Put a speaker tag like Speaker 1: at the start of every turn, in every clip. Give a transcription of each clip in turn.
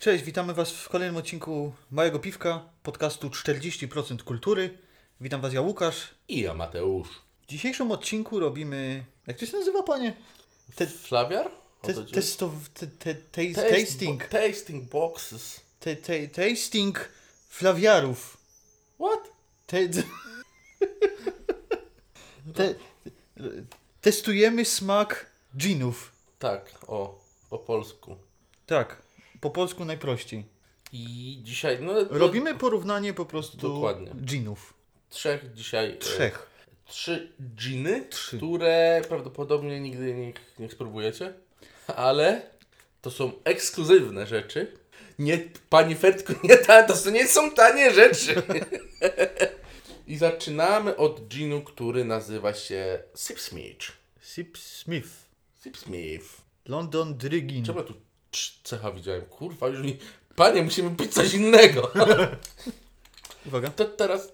Speaker 1: Cześć, witamy Was w kolejnym odcinku Małego Piwka, podcastu 40% kultury. Witam Was, ja Łukasz.
Speaker 2: I ja Mateusz.
Speaker 1: W dzisiejszym odcinku robimy... Jak to się nazywa, panie? Te,
Speaker 2: Flawiar? O
Speaker 1: te,
Speaker 2: to ci-
Speaker 1: testo, te, te, te,
Speaker 2: Taste-
Speaker 1: tasting.
Speaker 2: bo- tasting boxes.
Speaker 1: Te, te, tasting flawiarów.
Speaker 2: What?
Speaker 1: Te, te, testujemy smak dżinów.
Speaker 2: Tak, o, po polsku.
Speaker 1: Tak, po polsku najprościej.
Speaker 2: I dzisiaj, no,
Speaker 1: Robimy porównanie po prostu
Speaker 2: Dokładnie.
Speaker 1: dżinów.
Speaker 2: trzech dzisiaj. e,
Speaker 1: Trzech.
Speaker 2: Trzy dżiny,
Speaker 1: Trzy.
Speaker 2: które prawdopodobnie nigdy nie, nie spróbujecie, ale to są ekskluzywne rzeczy. Nie, pani Fertku, nie ta, to nie są tanie rzeczy. I zaczynamy od dżinu, który nazywa się Sipsmith.
Speaker 1: Sip Smith.
Speaker 2: Sipsmith.
Speaker 1: London Drygin.
Speaker 2: Czemu ja tu cz- cecha widziałem? Kurwa, już mi... Panie, musimy pić coś innego.
Speaker 1: Uwaga.
Speaker 2: To teraz...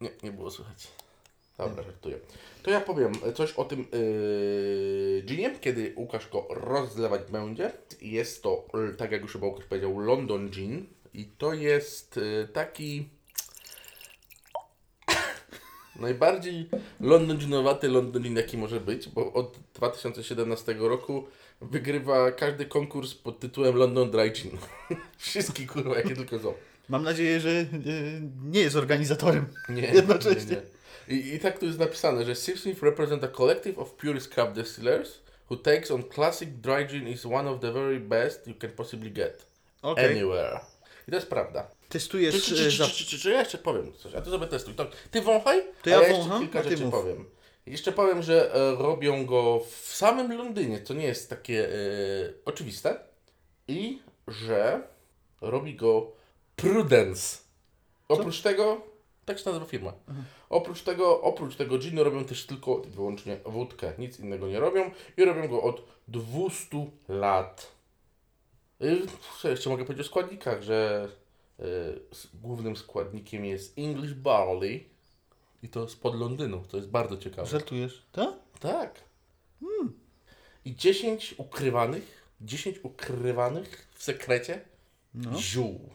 Speaker 2: Nie, nie było słychać. Dobra, żartuję. To ja powiem coś o tym yy, ginie, kiedy Łukasz go rozlewać będzie. Jest to, l- tak jak już chyba Łukasz powiedział, London Gin. I to jest y, taki... Najbardziej londyninowaty Londyn, jaki może być, bo od 2017 roku wygrywa każdy konkurs pod tytułem London Dry Gin. Wszystkie kurwa, jakie tylko są.
Speaker 1: Mam nadzieję, że e, nie jest organizatorem.
Speaker 2: Nie,
Speaker 1: Jednocześnie.
Speaker 2: nie, nie. I, I tak tu jest napisane, że Sipsmith represent a collective of purist craft distillers who takes on classic dry gin is one of the very best you can possibly get
Speaker 1: Okej.
Speaker 2: anywhere. I to jest prawda. Czy,
Speaker 1: Testujesz
Speaker 2: czy, czy,
Speaker 1: e,
Speaker 2: czy,
Speaker 1: za...
Speaker 2: czy, czy, czy, ja jeszcze powiem coś? A ty sobie testuj. To, ty wąchaj,
Speaker 1: To
Speaker 2: to
Speaker 1: ja
Speaker 2: ja a ja jeszcze
Speaker 1: wącham, a
Speaker 2: kilka
Speaker 1: ty
Speaker 2: rzeczy
Speaker 1: mów.
Speaker 2: powiem. Jeszcze powiem, że e, robią go w samym Londynie, co nie jest takie e, oczywiste. I że robi go Prudence. Oprócz tego, tak się nazywa firma. Oprócz tego, oprócz tego ginu robią też tylko i wyłącznie wódkę. Nic innego nie robią i robią go od 200 lat. Y, Co jeszcze mogę powiedzieć o składnikach, że y, s- głównym składnikiem jest English Barley i to spod Londynu. To jest bardzo ciekawe.
Speaker 1: Żartujesz, tak?
Speaker 2: Tak. I 10 ukrywanych, 10 ukrywanych w sekrecie ziół.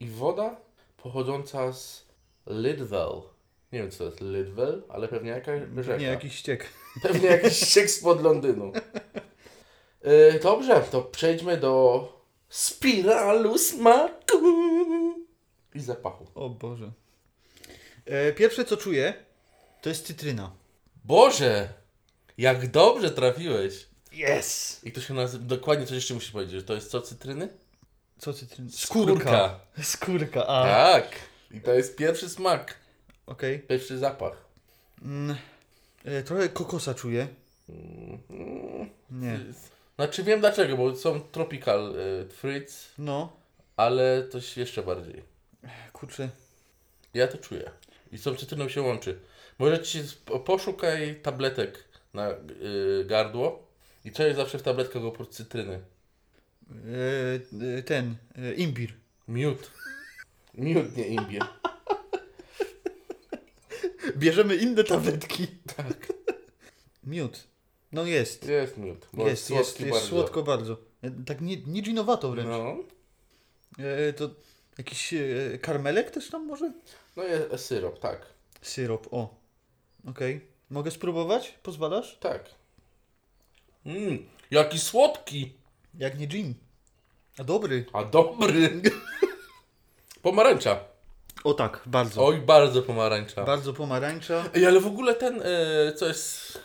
Speaker 2: I woda pochodząca z Lidwell. Nie wiem, co to jest Lidwell, ale pewnie jakaś rzeka.
Speaker 1: Nie, jakiś ściek.
Speaker 2: Pewnie jakiś ściek spod Londynu. Yy, dobrze, to przejdźmy do spiralu smaku i zapachu.
Speaker 1: O Boże. E, Pierwsze, co czuję, to jest cytryna.
Speaker 2: Boże, jak dobrze trafiłeś.
Speaker 1: Yes!
Speaker 2: I to się nazywa, dokładnie coś jeszcze musisz powiedzieć, że to jest co, cytryny?
Speaker 1: Co cytryna? Skórka.
Speaker 2: Skórka.
Speaker 1: Skórka, a.
Speaker 2: Tak. I to jest pierwszy smak,
Speaker 1: Okej.
Speaker 2: pierwszy zapach.
Speaker 1: Mm. E, Trochę kokosa czuję.
Speaker 2: Mhm.
Speaker 1: Nie.
Speaker 2: Znaczy wiem dlaczego, bo są tropical y, fruits,
Speaker 1: No,
Speaker 2: ale coś jeszcze bardziej.
Speaker 1: kurczę.
Speaker 2: Ja to czuję. I z tą cytryną się łączy. Może ci sp- poszukaj tabletek na y, gardło i co jest zawsze w tabletkach oprócz cytryny?
Speaker 1: E, e, Ten, e, imbir.
Speaker 2: Miód. Miód, nie imbir.
Speaker 1: Bierzemy inne tabletki. Tak. Miód. No jest.
Speaker 2: Jest miód. bo
Speaker 1: Jest, jest,
Speaker 2: słodki
Speaker 1: jest
Speaker 2: bardzo.
Speaker 1: słodko bardzo. E, Tak nie, nie ginowato wręcz.
Speaker 2: No.
Speaker 1: E, to jakiś e, karmelek też tam może?
Speaker 2: No jest e, syrop, tak.
Speaker 1: Syrop, o. Okej. Mogę spróbować? Pozwalasz?
Speaker 2: Tak. Mmm, jaki słodki.
Speaker 1: Jak nie gin. A dobry.
Speaker 2: A dobry. Pomarańcza.
Speaker 1: O tak, bardzo.
Speaker 2: Oj, bardzo pomarańcza.
Speaker 1: Bardzo pomarańcza.
Speaker 2: Ej, ale w ogóle ten, e, co jest...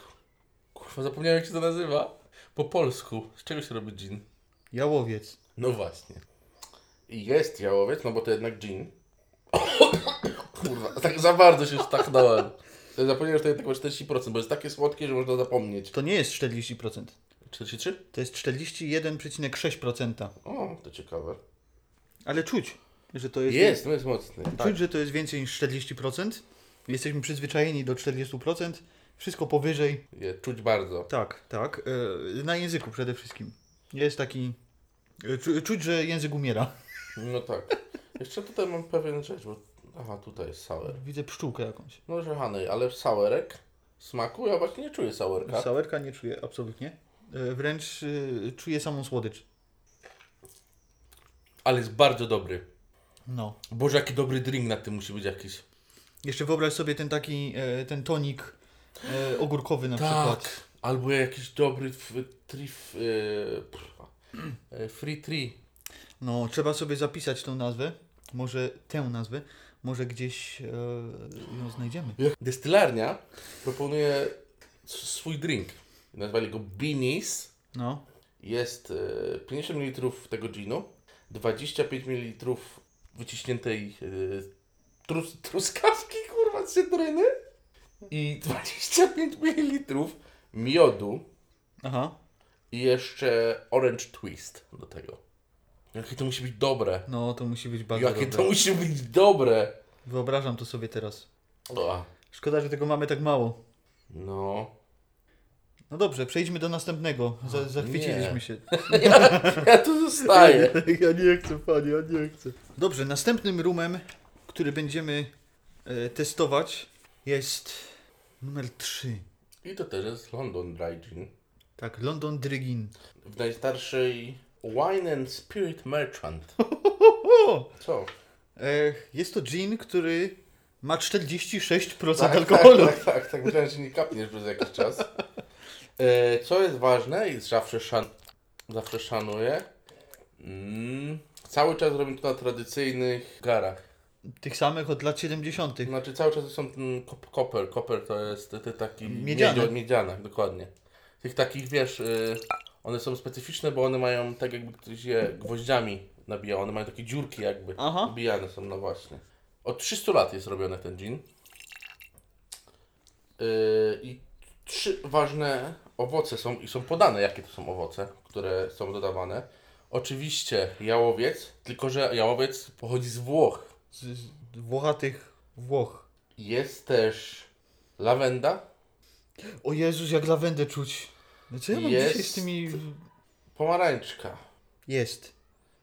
Speaker 2: Kurwa, zapomniałem jak się to nazywa. Po polsku. Z czego się robi gin?
Speaker 1: Jałowiec.
Speaker 2: No właśnie. I jest jałowiec, no bo to jednak gin. Kurwa, tak za bardzo się stachnąłem. Zapomniałem, że to jednak ma 40%, bo jest takie słodkie, że można zapomnieć.
Speaker 1: To nie jest 40%.
Speaker 2: 43?
Speaker 1: To jest 41,6%.
Speaker 2: O, to ciekawe.
Speaker 1: Ale czuć, że to jest...
Speaker 2: Jest, no jest mocny.
Speaker 1: Czuć,
Speaker 2: Tak.
Speaker 1: że to jest więcej niż 40%. Jesteśmy przyzwyczajeni do 40%. Wszystko powyżej
Speaker 2: Je, czuć bardzo.
Speaker 1: Tak, tak. e, Na języku przede wszystkim. Jest taki. e, czu- Czuć, że język umiera.
Speaker 2: No tak. Jeszcze tutaj mam pewien rzecz, bo... Aha, tutaj jest sour.
Speaker 1: Widzę pszczółkę jakąś.
Speaker 2: No żehanej, ale sourek smaku ja właśnie nie czuję sourka.
Speaker 1: Sałerka Tak. nie czuję absolutnie. E, Wręcz e, czuję samą słodycz.
Speaker 2: ale jest bardzo dobry.
Speaker 1: No.
Speaker 2: Boże, jaki dobry drink na tym musi być jakiś.
Speaker 1: Jeszcze wyobraź sobie ten taki, e, ten tonik e, ogórkowy na przykład.
Speaker 2: Tak. Albo jakiś dobry f, trif, e, pff, e, free tree.
Speaker 1: No, trzeba sobie zapisać tą nazwę. Może tę nazwę. Może gdzieś e, ją znajdziemy.
Speaker 2: Destylarnia proponuje s- swój drink. Nazwali go Beanies.
Speaker 1: No.
Speaker 2: Jest e, 50 ml tego ginu, 25 ml wyciśniętej e, trus, truskawki, kurwa, cytryny i 25 ml miodu
Speaker 1: Aha.
Speaker 2: i jeszcze orange twist do tego. Jakie to musi być dobre.
Speaker 1: No, to musi być bardzo
Speaker 2: Jakie
Speaker 1: dobre.
Speaker 2: to musi być dobre.
Speaker 1: Wyobrażam to sobie teraz.
Speaker 2: O,
Speaker 1: Szkoda, że tego mamy tak mało.
Speaker 2: no.
Speaker 1: No dobrze, przejdźmy do następnego. Za, zachwyciliśmy
Speaker 2: nie.
Speaker 1: się.
Speaker 2: Ja tu zostaję.
Speaker 1: Ja nie chcę, panie, ja nie chcę. Dobrze, następnym rumem, który będziemy e, testować jest numer 3.
Speaker 2: I to też jest London Dry Gin.
Speaker 1: Tak, London Drygin.
Speaker 2: W najstarszej Wine and Spirit Merchant.
Speaker 1: O!
Speaker 2: Co?
Speaker 1: E, jest to gin, który ma 46%
Speaker 2: Tak,
Speaker 1: alkoholu.
Speaker 2: Tak, tak, tak, tak. Myślałem, że nie kapniesz przez jakiś czas. E, co jest ważne i zawsze, szan zawsze szanuję, mm, cały czas robię to na tradycyjnych garach.
Speaker 1: Tych samych od lat 70.
Speaker 2: Znaczy cały czas są ten kop koper. Koper to jest te, te taki
Speaker 1: Miedziane.
Speaker 2: miedziane. miedziane, dokładnie. Tych takich, wiesz, y, one są specyficzne, bo one mają tak jakby ktoś je gwoździami nabijał, one mają takie dziurki jakby.
Speaker 1: Aha.
Speaker 2: Wbijane są, no właśnie. Od 300 lat jest robiony ten gin. Y, I trzy ważne owoce są i są podane, jakie to są owoce, które są dodawane. Oczywiście jałowiec, tylko że jałowiec pochodzi z Włoch.
Speaker 1: Z, z Włochatych Włoch.
Speaker 2: Jest też lawenda,
Speaker 1: O Jezus, jak lawendę czuć. Znaczy ja mam
Speaker 2: Jest.
Speaker 1: dzisiaj z tymi...
Speaker 2: pomarańczka.
Speaker 1: Jest.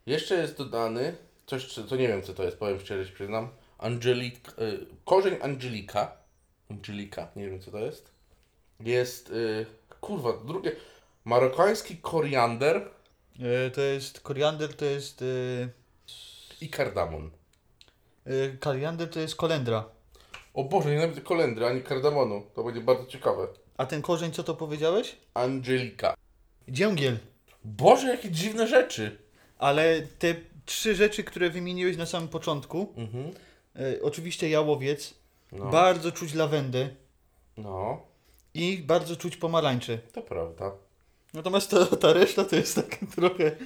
Speaker 2: Jeszcze jest dodany coś, co co nie wiem co to jest, powiem szczerze, się przyznam. Angelik, y, korzeń Angelika. Angelika, nie wiem co to jest. Jest, y, kurwa, drugie. Marokański koriander
Speaker 1: E, to jest koriander, to jest... E,
Speaker 2: i kardamon.
Speaker 1: e, koriander to jest kolendra.
Speaker 2: O Boże, nie nawet kolendry, ani kardamonu. To będzie bardzo ciekawe.
Speaker 1: A ten korzeń, co to powiedziałeś?
Speaker 2: Angelika.
Speaker 1: Dzięgiel.
Speaker 2: Boże, jakie dziwne rzeczy.
Speaker 1: Ale te trzy rzeczy, które wymieniłeś na samym początku,
Speaker 2: Mhm.
Speaker 1: e, oczywiście jałowiec,
Speaker 2: No.
Speaker 1: bardzo czuć lawendę
Speaker 2: no,
Speaker 1: i bardzo czuć pomarańcze.
Speaker 2: to prawda.
Speaker 1: Natomiast ta, ta reszta to jest tak trochę...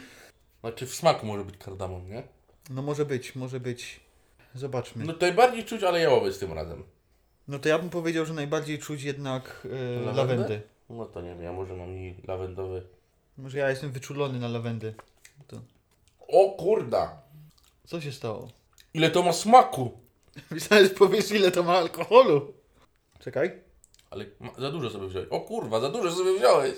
Speaker 2: Znaczy w smaku może być kardamon, nie?
Speaker 1: No może być, może być. Zobaczmy.
Speaker 2: No najbardziej czuć, ale jałowiec tym razem.
Speaker 1: No to ja bym powiedział, że najbardziej czuć jednak e,
Speaker 2: Lawendę?
Speaker 1: lawendę.
Speaker 2: No to nie wiem, ja może mam i lawendowy.
Speaker 1: Może ja jestem wyczulony na lawendę. To...
Speaker 2: O kurda!
Speaker 1: Co się stało?
Speaker 2: Ile to ma smaku!
Speaker 1: Myślałem, że powiesz ile to ma alkoholu. Czekaj.
Speaker 2: Ale ma, za dużo sobie wziąłeś. O kurwa, za dużo sobie wziąłeś!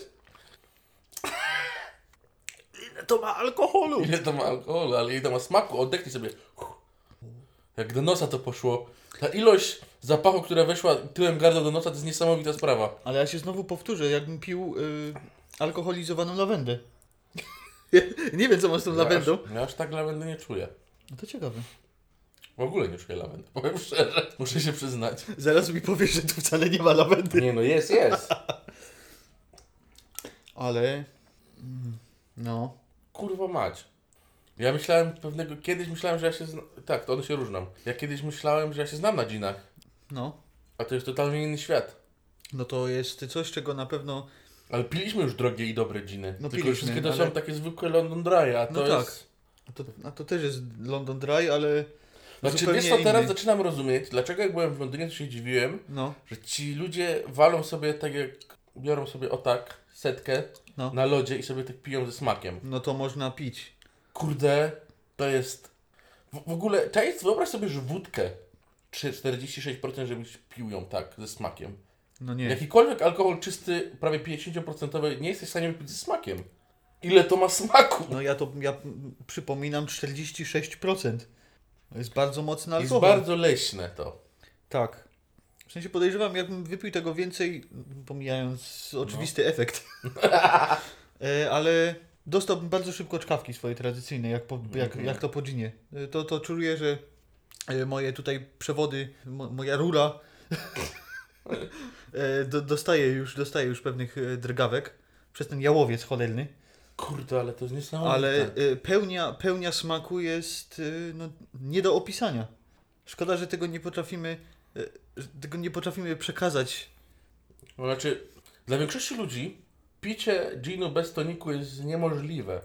Speaker 1: Ile to ma alkoholu?
Speaker 2: Ile to ma alkoholu, ale ile to ma smaku, oddechnij sobie. Jak do nosa to poszło. Ta ilość zapachu, która weszła tyłem gardła do nosa, to jest niesamowita sprawa.
Speaker 1: Ale ja się znowu powtórzę, jakbym pił y, alkoholizowaną lawendę. nie wiem co masz z tą lawendą.
Speaker 2: Ja aż, ja aż tak lawendy nie czuję.
Speaker 1: No to ciekawe.
Speaker 2: W ogóle nie czuję lawendy, powiem szczerze. Muszę się przyznać.
Speaker 1: Zaraz mi powiesz, że tu wcale nie ma lawendy.
Speaker 2: Nie no, jest, jest.
Speaker 1: Ale... mm, No.
Speaker 2: Kurwa mać. Ja myślałem pewnego, kiedyś myślałem, że ja się zna... Tak, to one się różnią. Ja kiedyś myślałem, że ja się znam na dżinach,
Speaker 1: No.
Speaker 2: a to jest totalnie inny świat.
Speaker 1: No to jest coś, czego na pewno...
Speaker 2: Ale piliśmy już drogie i dobre dżiny.
Speaker 1: No
Speaker 2: Tylko
Speaker 1: piliśmy,
Speaker 2: wszystkie to
Speaker 1: ale-
Speaker 2: są takie zwykłe London Dry, a to
Speaker 1: No
Speaker 2: no
Speaker 1: tak.
Speaker 2: jest...
Speaker 1: A to, a to też jest London Dry, ale...
Speaker 2: Znaczy,
Speaker 1: zupełnie
Speaker 2: wiesz co, teraz
Speaker 1: inny.
Speaker 2: zaczynam rozumieć, dlaczego jak byłem w Londynie, to się dziwiłem,
Speaker 1: No,
Speaker 2: że ci ludzie walą sobie tak jak... Biorą sobie o tak setkę
Speaker 1: No.
Speaker 2: na lodzie i sobie tak piją ze smakiem.
Speaker 1: no to można pić.
Speaker 2: Kurde, to jest... W, w ogóle, cześć, wyobraź sobie, że wódkę czy 46% żebyś pił ją tak, ze smakiem.
Speaker 1: No nie.
Speaker 2: Jakikolwiek alkohol czysty, prawie 50% nie jesteś w stanie wypić ze smakiem. Ile to ma smaku?
Speaker 1: No ja to, ja mm, przypominam 46%. To jest bardzo mocny
Speaker 2: jest
Speaker 1: alkohol.
Speaker 2: bardzo leśne to.
Speaker 1: Tak. W sensie podejrzewam, jakbym wypił tego
Speaker 2: No.
Speaker 1: więcej, pomijając oczywisty efekt. E, ale dostałbym bardzo szybko czkawki swojej tradycyjnej, jak, po, jak,
Speaker 2: Mhm.
Speaker 1: jak to po ginie. Y, To, to czuję, że y, moje tutaj przewody, mo, moja rura y, do, dostaje, już, dostaje już pewnych y, drgawek przez ten jałowiec cholerny,
Speaker 2: Kurde, ale to jest niesamowite.
Speaker 1: ale y, pełnia, pełnia smaku jest y, no, nie do opisania. Szkoda, że tego nie potrafimy, y, że tego nie potrafimy przekazać.
Speaker 2: No, Znaczy, dla większości ludzi picie ginu bez toniku jest niemożliwe.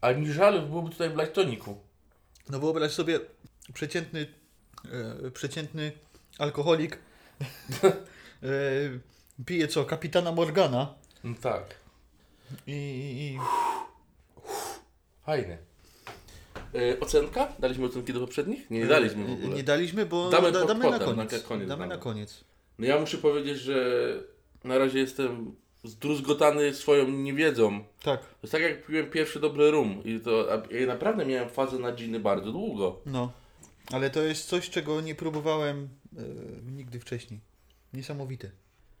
Speaker 2: A mi żal byłoby tutaj brać toniku.
Speaker 1: No wyobraź sobie przeciętny, e, przeciętny alkoholik e, pije co, kapitana Morgana
Speaker 2: No tak,
Speaker 1: i, i, i
Speaker 2: fajny. E, ocenka? Daliśmy ocenki do poprzednich? Nie daliśmy w ogóle.
Speaker 1: nie daliśmy, bo
Speaker 2: Damy
Speaker 1: da,
Speaker 2: pod
Speaker 1: damy na
Speaker 2: potem,
Speaker 1: koniec.
Speaker 2: na koniec
Speaker 1: damy
Speaker 2: damy.
Speaker 1: na koniec.
Speaker 2: No ja muszę powiedzieć, że na razie jestem zdruzgotany swoją niewiedzą.
Speaker 1: Tak,
Speaker 2: To jest tak jak piłem pierwszy dobry rum i to a- ja naprawdę miałem fazę na dżiny bardzo długo.
Speaker 1: no. Ale to jest coś, czego nie próbowałem e, nigdy wcześniej. Niesamowite.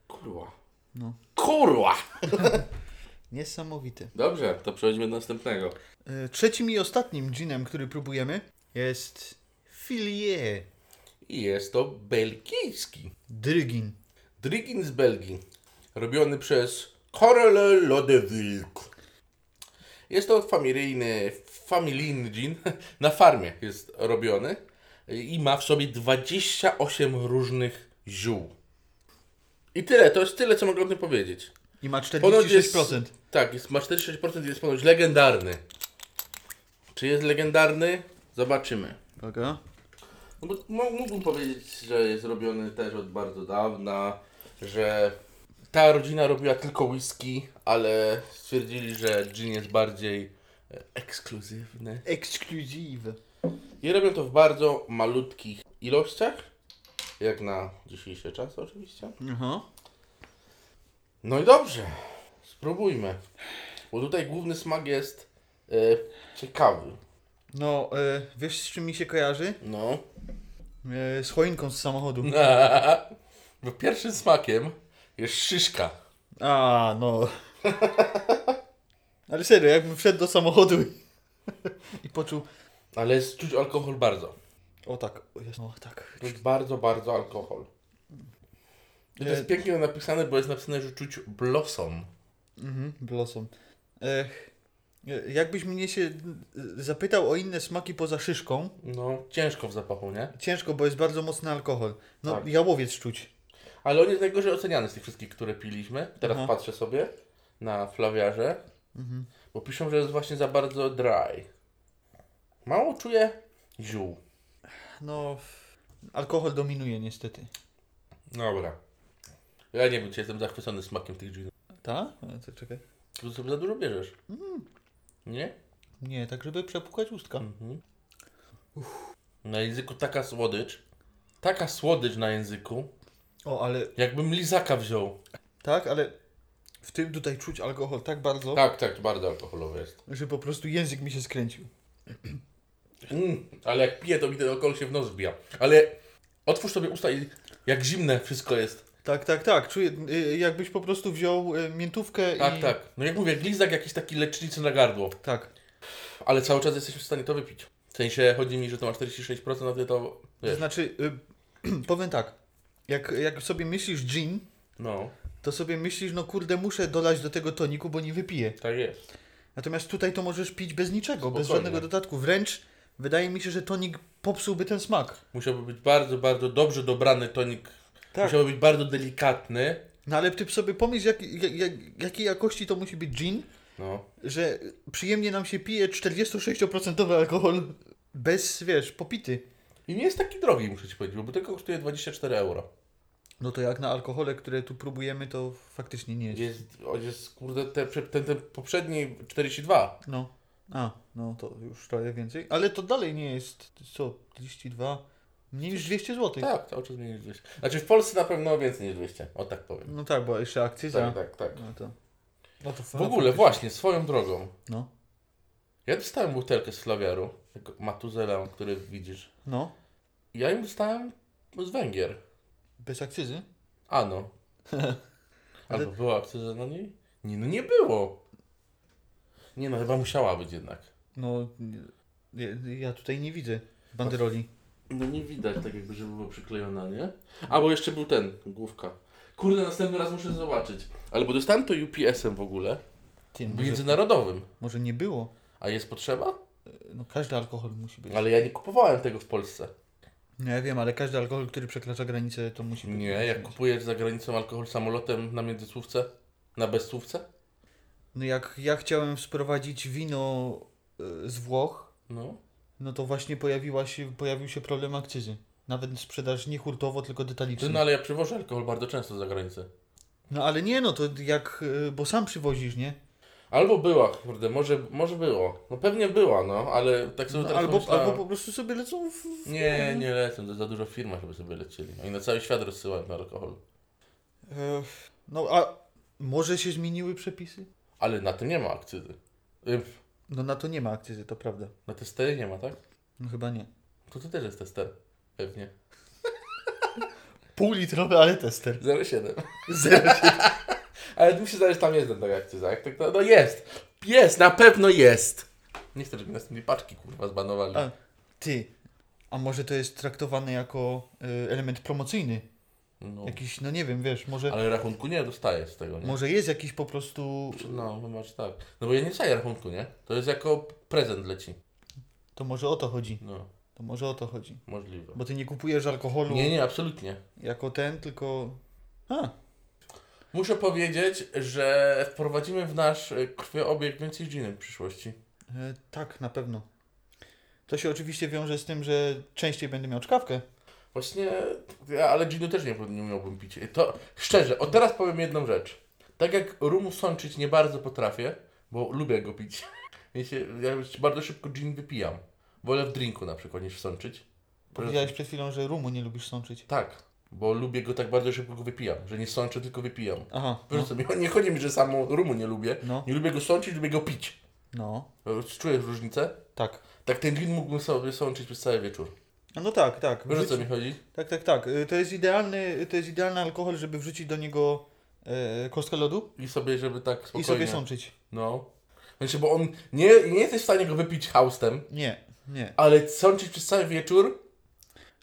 Speaker 2: Kurwa.
Speaker 1: No.
Speaker 2: Kurwa!
Speaker 1: Niesamowite.
Speaker 2: Dobrze, to przechodzimy do następnego.
Speaker 1: E, trzecim i ostatnim ginem, który próbujemy jest Filie
Speaker 2: I jest to belgijski.
Speaker 1: Drygin.
Speaker 2: Drygin z Belgii, robiony przez Karele Lodewilk. Jest to familijny, familijny gin, na farmie jest robiony i ma w sobie 28 różnych ziół. I tyle, to jest tyle, co mogę o tym powiedzieć.
Speaker 1: I ma 46%.
Speaker 2: Ponoć jest- Tak, jest, ma 46%, jest ponoć legendarny. Czy jest legendarny? Zobaczymy.
Speaker 1: Uwaga.
Speaker 2: No bo mo- mógłbym powiedzieć, że jest robiony też od bardzo dawna, że ta rodzina robiła tylko whisky, ale stwierdzili, że gin jest bardziej e, ekskluzywny.
Speaker 1: Exclusive.
Speaker 2: I robią to w bardzo malutkich ilościach, jak na dzisiejsze czasy oczywiście.
Speaker 1: Aha.
Speaker 2: No i dobrze, spróbujmy. Bo tutaj główny smak jest e, ciekawy.
Speaker 1: No, e, wiesz z czym mi się kojarzy?
Speaker 2: No.
Speaker 1: E, z choinką z samochodu.
Speaker 2: Bo pierwszym smakiem jest szyszka.
Speaker 1: A, no. Ale serio, jakbym wszedł do samochodu i, i poczuł...
Speaker 2: Ale jest czuć alkohol bardzo.
Speaker 1: O tak, o jest, o tak.
Speaker 2: Czuć bardzo, bardzo alkohol. I to
Speaker 1: E,
Speaker 2: jest pięknie napisane, bo jest napisane, że czuć blossom.
Speaker 1: Mhm, blossom. Ech, e, jakbyś mnie się e, zapytał o inne smaki poza szyszką,
Speaker 2: No, ciężko w zapachu, nie?
Speaker 1: ciężko, bo jest bardzo mocny alkohol. No,
Speaker 2: Tak.
Speaker 1: jałowiec czuć.
Speaker 2: Ale on jest najgorzej oceniany z tych wszystkich, które piliśmy. Teraz
Speaker 1: Aha.
Speaker 2: patrzę sobie na flawiarze, bo piszą, że jest właśnie za bardzo dry. Mało czuję ziół.
Speaker 1: No, f- alkohol dominuje niestety.
Speaker 2: Dobra. Ja nie wiem, czy jestem zachwycony smakiem tych dżinów.
Speaker 1: Ta? E, to Czekaj.
Speaker 2: Tu sobie za dużo bierzesz. Mhm. Nie?
Speaker 1: Nie, tak żeby przepukać ustka.
Speaker 2: Mhm. Na języku taka słodycz. Taka słodycz na języku.
Speaker 1: O, ale
Speaker 2: Jakbym lizaka wziął.
Speaker 1: Tak, ale w tym tutaj czuć alkohol tak bardzo,
Speaker 2: Tak, tak, bardzo alkoholowy jest.
Speaker 1: że po prostu język mi się skręcił.
Speaker 2: Mm, ale jak piję, to mi ten alkohol się w nos wbija. Ale otwórz sobie usta i jak zimne wszystko jest.
Speaker 1: Tak, tak, tak. Czuję, y, jakbyś po prostu wziął y, miętówkę
Speaker 2: Tak,
Speaker 1: i...
Speaker 2: tak. No jak mówię, jak lizak jakiś taki leczniczy na gardło.
Speaker 1: Tak.
Speaker 2: Ale cały czas jesteś w stanie to wypić. W sensie chodzi mi, że to ma 46%, a ty to...
Speaker 1: To
Speaker 2: Wiesz,
Speaker 1: znaczy, y, powiem tak, jak, jak sobie myślisz gin,
Speaker 2: no,
Speaker 1: to sobie myślisz, no kurde, muszę dolać do tego toniku, bo nie wypiję.
Speaker 2: tak jest.
Speaker 1: Natomiast tutaj to możesz pić bez niczego, bez
Speaker 2: Spokojnie.
Speaker 1: żadnego dodatku. Wręcz wydaje mi się, że tonik popsułby ten smak.
Speaker 2: Musiałby być bardzo, bardzo dobrze dobrany tonik.
Speaker 1: Tak.
Speaker 2: Musiałby być bardzo delikatny.
Speaker 1: No ale ty sobie pomyśl, jak, jak, jak, jakiej jakości to musi być gin,
Speaker 2: No.
Speaker 1: że przyjemnie nam się pije 46% alkohol bez, wiesz, popity.
Speaker 2: I nie jest taki drogi, muszę ci powiedzieć, bo tylko kosztuje 24 euro.
Speaker 1: No to jak na alkohole, które tu próbujemy, to faktycznie nie jest.
Speaker 2: Jest, o, jest kurde, te, prze- ten, ten poprzedni 42.
Speaker 1: No. A, no to już trochę więcej. Ale to dalej nie jest, co, 32, mniej niż 200 zł.
Speaker 2: Tak, cały czas mniej niż 200. Znaczy w Polsce na pewno więcej niż 200, o tak powiem.
Speaker 1: No tak, bo jeszcze akcyza.
Speaker 2: Tak, tak, tak.
Speaker 1: No to... No to
Speaker 2: W ogóle, właśnie, swoją drogą.
Speaker 1: No,
Speaker 2: Ja dostałem butelkę z flawiaru, tego matuzela, który widzisz.
Speaker 1: no,
Speaker 2: I Ja im dostałem z Węgier.
Speaker 1: bez akcyzy.
Speaker 2: Ano.
Speaker 1: Ale-
Speaker 2: Albo była akcyza na niej? Nie, no nie było. Nie no, chyba musiała być jednak.
Speaker 1: No, nie- ja tutaj nie widzę banderoli.
Speaker 2: No nie widać, tak jakby, żeby była przyklejona, nie? A, bo jeszcze był ten, główka. Kurde, następny raz muszę zobaczyć. Ale bo dostałem to UPS-em w ogóle,
Speaker 1: Ty, może,
Speaker 2: międzynarodowym.
Speaker 1: może nie było.
Speaker 2: A jest potrzeba?
Speaker 1: No każdy alkohol musi być.
Speaker 2: Ale ja nie kupowałem tego w Polsce.
Speaker 1: No ja wiem, ale każdy alkohol, który przekracza granicę, to musi być.
Speaker 2: Nie, jak kupujesz za granicą alkohol samolotem na międzysłówce, na bezsłówce,
Speaker 1: No jak ja chciałem sprowadzić wino e, z Włoch,
Speaker 2: no.
Speaker 1: no to właśnie pojawiła się, pojawił się problem akcyzy. Nawet sprzedaż nie hurtowo, tylko detalicznie.
Speaker 2: Ty, no ale ja przywożę alkohol bardzo często za granicę.
Speaker 1: No ale nie, no to jak, e, bo sam przywozisz, nie?
Speaker 2: Albo była, kurde, może, może było. No pewnie była, no, ale tak sobie
Speaker 1: No,
Speaker 2: teraz
Speaker 1: albo,
Speaker 2: pomyślałem-
Speaker 1: albo po prostu sobie lecą w... w-
Speaker 2: Nie, nie lecę, to za dużo firma, żeby sobie lecieli. Oni na cały świat rozsyłają na alkohol.
Speaker 1: E, No a może się zmieniły przepisy?
Speaker 2: Ale na tym nie ma akcyzy. Y,
Speaker 1: No na to nie ma akcyzy, to prawda.
Speaker 2: Na te stery nie ma, tak?
Speaker 1: No chyba nie.
Speaker 2: To to też jest tester. Pewnie.
Speaker 1: Pół litrowy, ale tester.
Speaker 2: 0,7. Ale tu mi się zdaje, że tam jest ten tak akcyza. Jak tak, no, no jest. Jest, na pewno jest. Nie chcę, żeby następnej paczki, kurwa, zbanowali.
Speaker 1: A, ty, a może to jest traktowane jako e, element promocyjny?
Speaker 2: No.
Speaker 1: Jakiś, no nie wiem, wiesz, może,
Speaker 2: Ale rachunku nie dostajesz z tego, nie?
Speaker 1: może jest jakiś po prostu...
Speaker 2: No, chyba, że tak. No bo ja nie dostaję rachunku, nie? To jest jako prezent leci.
Speaker 1: To może o to chodzi.
Speaker 2: No,
Speaker 1: To może o to chodzi.
Speaker 2: możliwe.
Speaker 1: Bo ty nie kupujesz alkoholu
Speaker 2: Nie, nie, absolutnie.
Speaker 1: jako ten, tylko... A,
Speaker 2: Muszę powiedzieć, że wprowadzimy w nasz y, krwioobieg więcej dżinem w przyszłości.
Speaker 1: e, tak, na pewno. To się oczywiście wiąże z tym, że częściej będę miał czkawkę.
Speaker 2: Właśnie, ja, ale ginu też nie, nie umiałbym pić. To szczerze, od teraz powiem jedną rzecz. Tak jak rumu sączyć nie bardzo potrafię, bo lubię go pić. Ja, się, ja już bardzo szybko gin wypijam. Wolę w drinku na przykład niż sączyć.
Speaker 1: Powiedziałeś przed chwilą, że rumu nie lubisz sączyć.
Speaker 2: Tak, bo lubię go tak bardzo szybko go wypijam, że nie sączę, tylko wypijam.
Speaker 1: Aha,
Speaker 2: Wiesz
Speaker 1: no,
Speaker 2: co, mi- nie chodzi mi, że samo rumu nie lubię.
Speaker 1: No.
Speaker 2: Nie lubię go sączyć, lubię go pić.
Speaker 1: no,
Speaker 2: Czujesz różnicę?
Speaker 1: tak.
Speaker 2: Tak ten gin mógłbym sobie sączyć przez cały wieczór.
Speaker 1: A No tak, tak.
Speaker 2: Wiesz o co
Speaker 1: Wrzuć-
Speaker 2: mi chodzi?
Speaker 1: Tak, tak, tak. Y, To jest idealny, to jest idealny alkohol, żeby wrzucić do niego e, kostkę lodu
Speaker 2: I sobie, żeby tak spokojnie...
Speaker 1: i sobie sączyć.
Speaker 2: No. Znaczy, bo on nie, nie jesteś w stanie go wypić haustem,
Speaker 1: Nie, nie.
Speaker 2: ale sączyć przez cały wieczór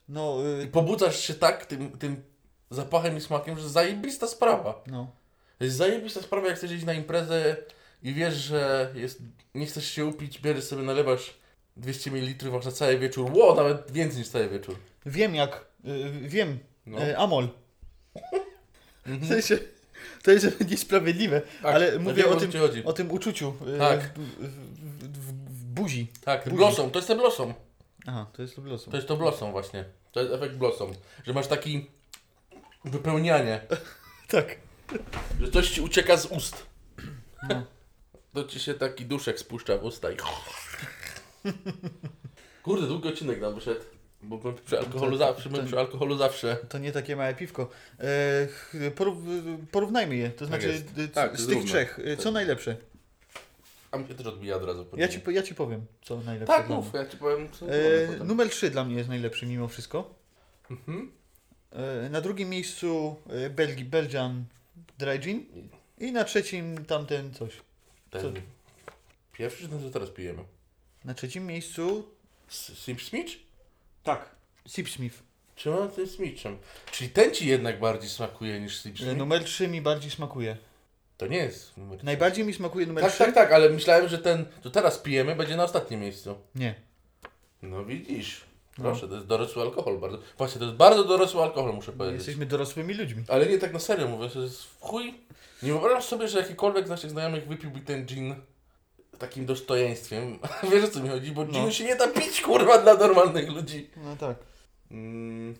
Speaker 1: No,
Speaker 2: i
Speaker 1: y,
Speaker 2: pobudzasz się tak tym, tym zapachem i smakiem, że zajebista sprawa.
Speaker 1: no.
Speaker 2: To jest zajebista sprawa, jak chcesz iść na imprezę i wiesz, że jest, nie chcesz się upić, bierzesz sobie, nalewasz 200 ml, masz na cały wieczór. Ło, nawet więcej niż cały wieczór.
Speaker 1: Wiem jak, y, wiem,
Speaker 2: No. Mhm.
Speaker 1: e, Amol. W sensie, to jest niesprawiedliwe,
Speaker 2: Tak,
Speaker 1: ale
Speaker 2: no
Speaker 1: mówię
Speaker 2: wiem,
Speaker 1: o,
Speaker 2: co
Speaker 1: tym,
Speaker 2: ci chodzi.
Speaker 1: o tym uczuciu y,
Speaker 2: Tak.
Speaker 1: w, w, w, w buzi.
Speaker 2: Tak,
Speaker 1: Buzi.
Speaker 2: blossom, to jest ten blossom.
Speaker 1: Aha, to jest losu.
Speaker 2: To jest to blossom właśnie. To jest efekt blossom. Że masz taki wypełnianie,
Speaker 1: Tak.
Speaker 2: że coś ci ucieka z ust.
Speaker 1: No.
Speaker 2: To ci się taki duszek spuszcza w usta i... Kurde, długi odcinek nam wyszedł. Bo my przy alkoholu zawsze, my przy alkoholu zawsze.
Speaker 1: To nie takie małe piwko. E, ch- porów- porównajmy je, to znaczy
Speaker 2: jest.
Speaker 1: y, c-
Speaker 2: Tak,
Speaker 1: z tych
Speaker 2: zróbmy.
Speaker 1: trzech, y, co najlepsze?
Speaker 2: A mi się też odbija od razu. po
Speaker 1: Ja
Speaker 2: nim.
Speaker 1: ci, po- ja ci powiem, co najlepsze.
Speaker 2: Tak,
Speaker 1: dla
Speaker 2: mów,
Speaker 1: mnie.
Speaker 2: ja ci powiem. co mamy
Speaker 1: E,
Speaker 2: potem.
Speaker 1: numer 3 dla mnie jest najlepszy mimo wszystko.
Speaker 2: Mhm.
Speaker 1: E, na drugim miejscu e, Belgi, Belgian Dry Gin. I na trzecim tamten coś.
Speaker 2: Ten.
Speaker 1: co?
Speaker 2: Pierwszy czy ten, co teraz pijemy?
Speaker 1: Na trzecim miejscu...
Speaker 2: S- Sim Smith?
Speaker 1: Tak. Sip Smith.
Speaker 2: Czy on tym Smitchem? Czyli ten ci jednak bardziej smakuje niż Sim
Speaker 1: E,
Speaker 2: Smith?
Speaker 1: numer 3 mi bardziej smakuje.
Speaker 2: To nie jest numer
Speaker 1: Najbardziej mi smakuje numer
Speaker 2: Tak,
Speaker 1: 3.
Speaker 2: tak, tak, ale myślałem, że ten, co teraz pijemy, będzie na ostatnim miejscu.
Speaker 1: Nie.
Speaker 2: No widzisz. Proszę, to jest dorosły alkohol bardzo. Właśnie, to jest bardzo dorosły alkohol, muszę powiedzieć.
Speaker 1: Jesteśmy dorosłymi ludźmi.
Speaker 2: Ale nie tak na serio mówię, to jest w chuj. Nie wyobrażam sobie, że jakikolwiek z naszych znajomych wypiłby ten gin takim dostojeństwem. Wiesz o co mi chodzi, bo
Speaker 1: No.
Speaker 2: ginu się nie da pić, kurwa, dla normalnych ludzi.
Speaker 1: No tak.
Speaker 2: Mm,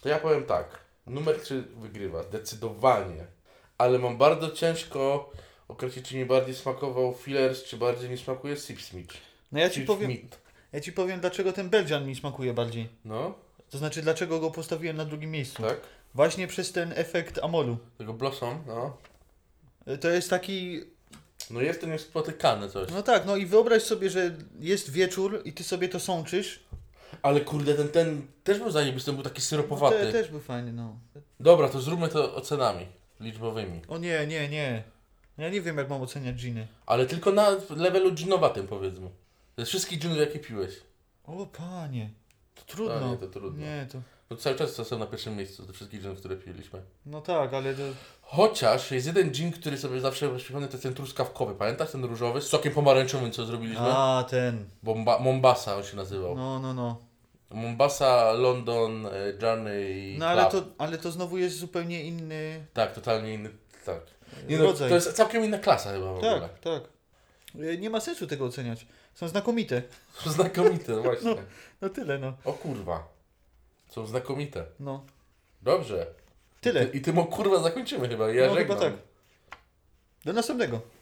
Speaker 2: to ja powiem tak. Numer 3 wygrywa, zdecydowanie. Ale mam bardzo ciężko określić, czy mi bardziej smakował Fillers, czy bardziej mi smakuje Sip Smith.
Speaker 1: No ja ci,
Speaker 2: Sip
Speaker 1: powiem,
Speaker 2: Smith.
Speaker 1: ja ci powiem, dlaczego ten Belgian mi smakuje bardziej.
Speaker 2: No,
Speaker 1: To znaczy, dlaczego go postawiłem na drugim miejscu.
Speaker 2: tak.
Speaker 1: Właśnie przez ten efekt amolu.
Speaker 2: Tego Blossom, no.
Speaker 1: E, To jest taki
Speaker 2: No jest to niespotykane coś.
Speaker 1: No tak, no i wyobraź sobie, że jest wieczór i ty sobie to sączysz.
Speaker 2: Ale kurde, ten, ten też był zajebisty, on był taki
Speaker 1: No,
Speaker 2: syropowaty.
Speaker 1: te, też był fajny, no.
Speaker 2: Dobra, to zróbmy to ocenami liczbowymi.
Speaker 1: O nie, nie, nie. Ja nie wiem, jak mam oceniać dżiny.
Speaker 2: Ale tylko na levelu dżinowatym powiedzmy. Ze wszystkich dżinów jakie piłeś.
Speaker 1: O panie, to trudno.
Speaker 2: A nie, to trudno.
Speaker 1: Nie, to...
Speaker 2: Bo No cały czas są na pierwszym miejscu ze wszystkich dżinów, które piliśmy.
Speaker 1: No tak, ale to...
Speaker 2: Chociaż jest jeden dżin, który sobie zawsze przypomnę, to jest ten truskawkowy. Pamiętasz ten różowy z sokiem pomarańczowym, co zrobiliśmy?
Speaker 1: A, ten.
Speaker 2: Bomba- Mombasa on się nazywał.
Speaker 1: No, no, no.
Speaker 2: Mombasa, London, e, Journey.
Speaker 1: No ale
Speaker 2: Club.
Speaker 1: to, ale to znowu jest zupełnie inny
Speaker 2: Tak, totalnie inny. Tak. Nie, no,
Speaker 1: rodzaj.
Speaker 2: to jest całkiem inna klasa chyba w ogóle.
Speaker 1: Tak, tak. E, Nie ma sensu tego oceniać. Są znakomite.
Speaker 2: Znakomite, no właśnie.
Speaker 1: No tyle, no.
Speaker 2: O kurwa. Są znakomite.
Speaker 1: no.
Speaker 2: Dobrze.
Speaker 1: Tyle.
Speaker 2: I tym o kurwa zakończymy chyba. Ja
Speaker 1: no
Speaker 2: żegnam.
Speaker 1: chyba tak. Do następnego.